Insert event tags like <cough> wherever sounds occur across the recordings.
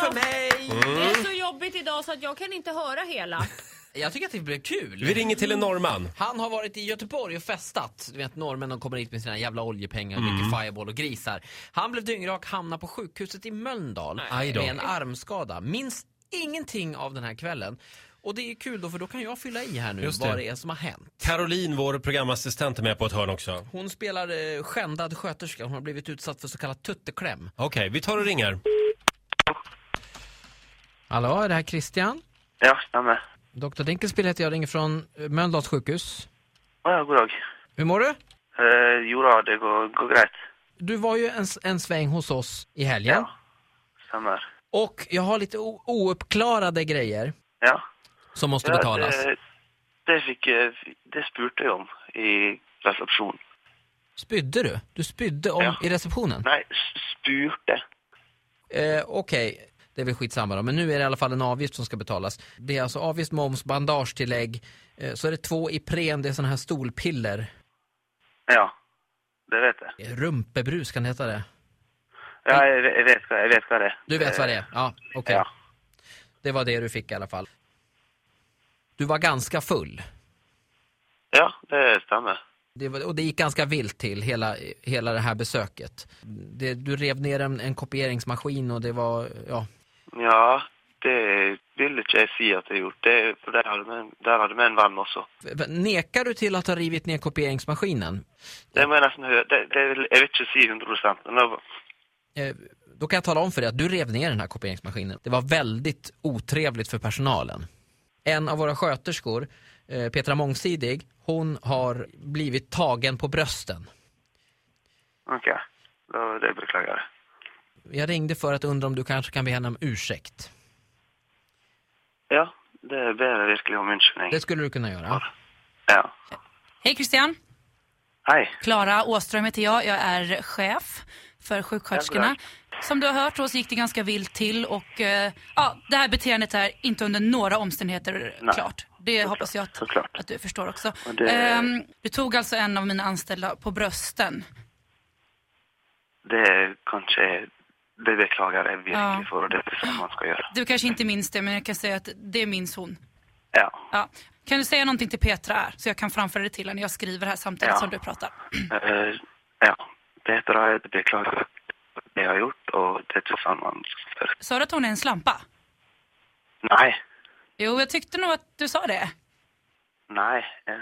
för mig. Mm. Det Mm. är så jobbigt idag så att jag kan inte höra hela. Jag tycker att det blev kul. Vi ringer till en norrman. Han har varit i Göteborg och festat. Du vet norrmän de kommer hit med sina jävla oljepengar, mycket fireball och grisar. Han blev dyngrak, hamnade på sjukhuset i Mölndal Aj då. med en armskada. Minns ingenting av den här kvällen. Och det är kul då för då kan jag fylla i här nu Just det. vad det är som har hänt. Caroline, vår programassistent, är med på ett hörn också. Okej, Hon spelar eh, skändad sköterska, hon har blivit utsatt för så kallad tuttekläm. vi tar och ringer. Hallå, är det här Christian? Ja, stämmer. Dr. Dinkelspiel heter jag, ringer från eh, Mölndals sjukhus. Ja, god dag. Hur mår du? Eh, jo då, det går, går grejt. Du var ju en, s- en sväng hos oss i helgen. Ja. Stämmer. Och jag har lite o- ouppklarade grejer Ja. som måste ja betalas. Det, det fick, eh, det spurte jag om i reception. Spydde du? Du spydde om, Ja. i receptionen? Nej, s- spurte. Eh, Okej, det är väl skitsamma då. Men nu är det i alla fall en avgift som ska betalas. Det är alltså avgift, moms, bandagetillägg. Eh, så är det två Ipren, det är sådana här stolpiller. Ja, det vet jag. Eh, Rumpebrus kan det heta det. Ja, jag, ve- jag, vet, vad- jag vet vad det är. Eh, Du vet vad det är? Ja, okej. Ja. Det var det du fick i alla fall. Du var ganska full. ja, det stämmer. Det var, och det gick ganska vilt till, hela, hela det här besöket. Det, du rev ner en, en kopieringsmaskin och det var, ja, Ja, det vill inte jag säga att jag gjort. Det, för där hade, man, där hade man en vän också. Nekar du till att ha rivit ner kopieringsmaskinen? Det må jag nästan höra. Det, det, vill- jag vet inte säga hundra procent, men det var- Eh, Då kan jag tala om för dig att du rev ner den här kopieringsmaskinen. Det var väldigt otrevligt för personalen. En av våra sköterskor, eh, Petra Mångsidig, hon har blivit tagen på brösten. okej. Då Det beklagar jag. Jag ringde för att undra om du kanske kan be henne om ursäkt. Ja, det ber jag verkligen om ursäkt. Det skulle du kunna göra. Ja. Hej Christian! Hej. Klara Åström heter jag. Jag är chef för Ja, sjuksköterskorna. Som du har hört oss gick det ganska vilt till och eh, ja, det här beteendet är inte under några omständigheter Nej, klart. Det hoppas jag såklart. att, att du förstår också. Och det- Ehm, du tog alltså en av mina anställda på brösten. Det kanske... Det beklagar jag verkligen Ja. för och det är så man ska göra. Du kanske inte minns det men jag kan säga att det minns hon. Ja. Ja. Kan du säga någonting till Petra här så jag kan framföra det till henne? Jag skriver här samtidigt Ja. som du pratar. <clears throat> Eh, ja. Petra, jag beklagar det jag har gjort och det tillsammans. För... Sa du att hon är en slampa? Nej. Jo, jag tyckte nog att du sa det. Nej. eh,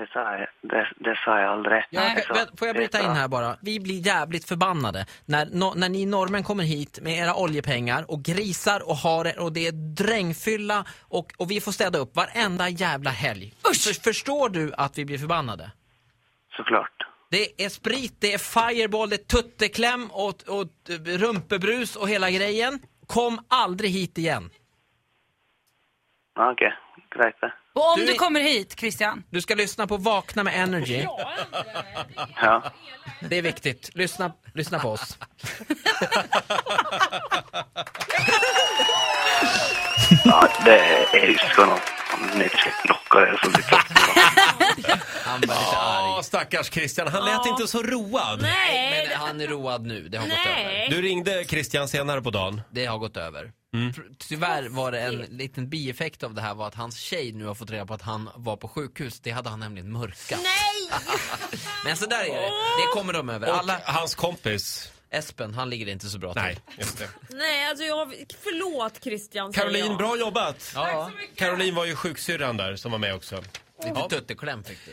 Det sa jag, det, det sa jag aldrig. Jag, sa- vä- får jag bryta in här bara? Vi blir jävligt förbannade när, no, när ni norrmän kommer hit med era oljepengar och grisar och har och det är drängfylla och, och vi får städa upp varenda jävla helg. För, förstår du att vi blir förbannade? Såklart. Det är sprit, det är fireball, det är tuttekläm och, och rumpebrus och hela grejen. Kom aldrig hit igen. Ja, Okej, grejt det. Och om Du du, är- kommer hit, Christian, Du ska lyssna på Vakna med Energy. Ja. Det är viktigt. Lyssna, lyssna på oss. ja, det är ju skönat. Om ni inte knockar er så blir det Han var lite Ja, stackars Christian. Han lät inte så road. Nej, Men han är road nu, det har gått över. nej. Du ringde Christian senare på dagen. Det har gått över. Mm. För- Tyvärr var det en liten bieffekt av det här var att hans tjej nu har fått reda på att han var på sjukhus. Det hade han nämligen mörkat. Nej! Men så där är det. Det kommer de över. Och Alla, hans kompis. Espen, han ligger inte så bra till. Nej, just det. Nej, alltså jag... Förlåt Christian, säger Caroline, jag. bra jobbat. Ja, Caroline var ju sjuksyrran där som var med också. lite tuttekläm fick du.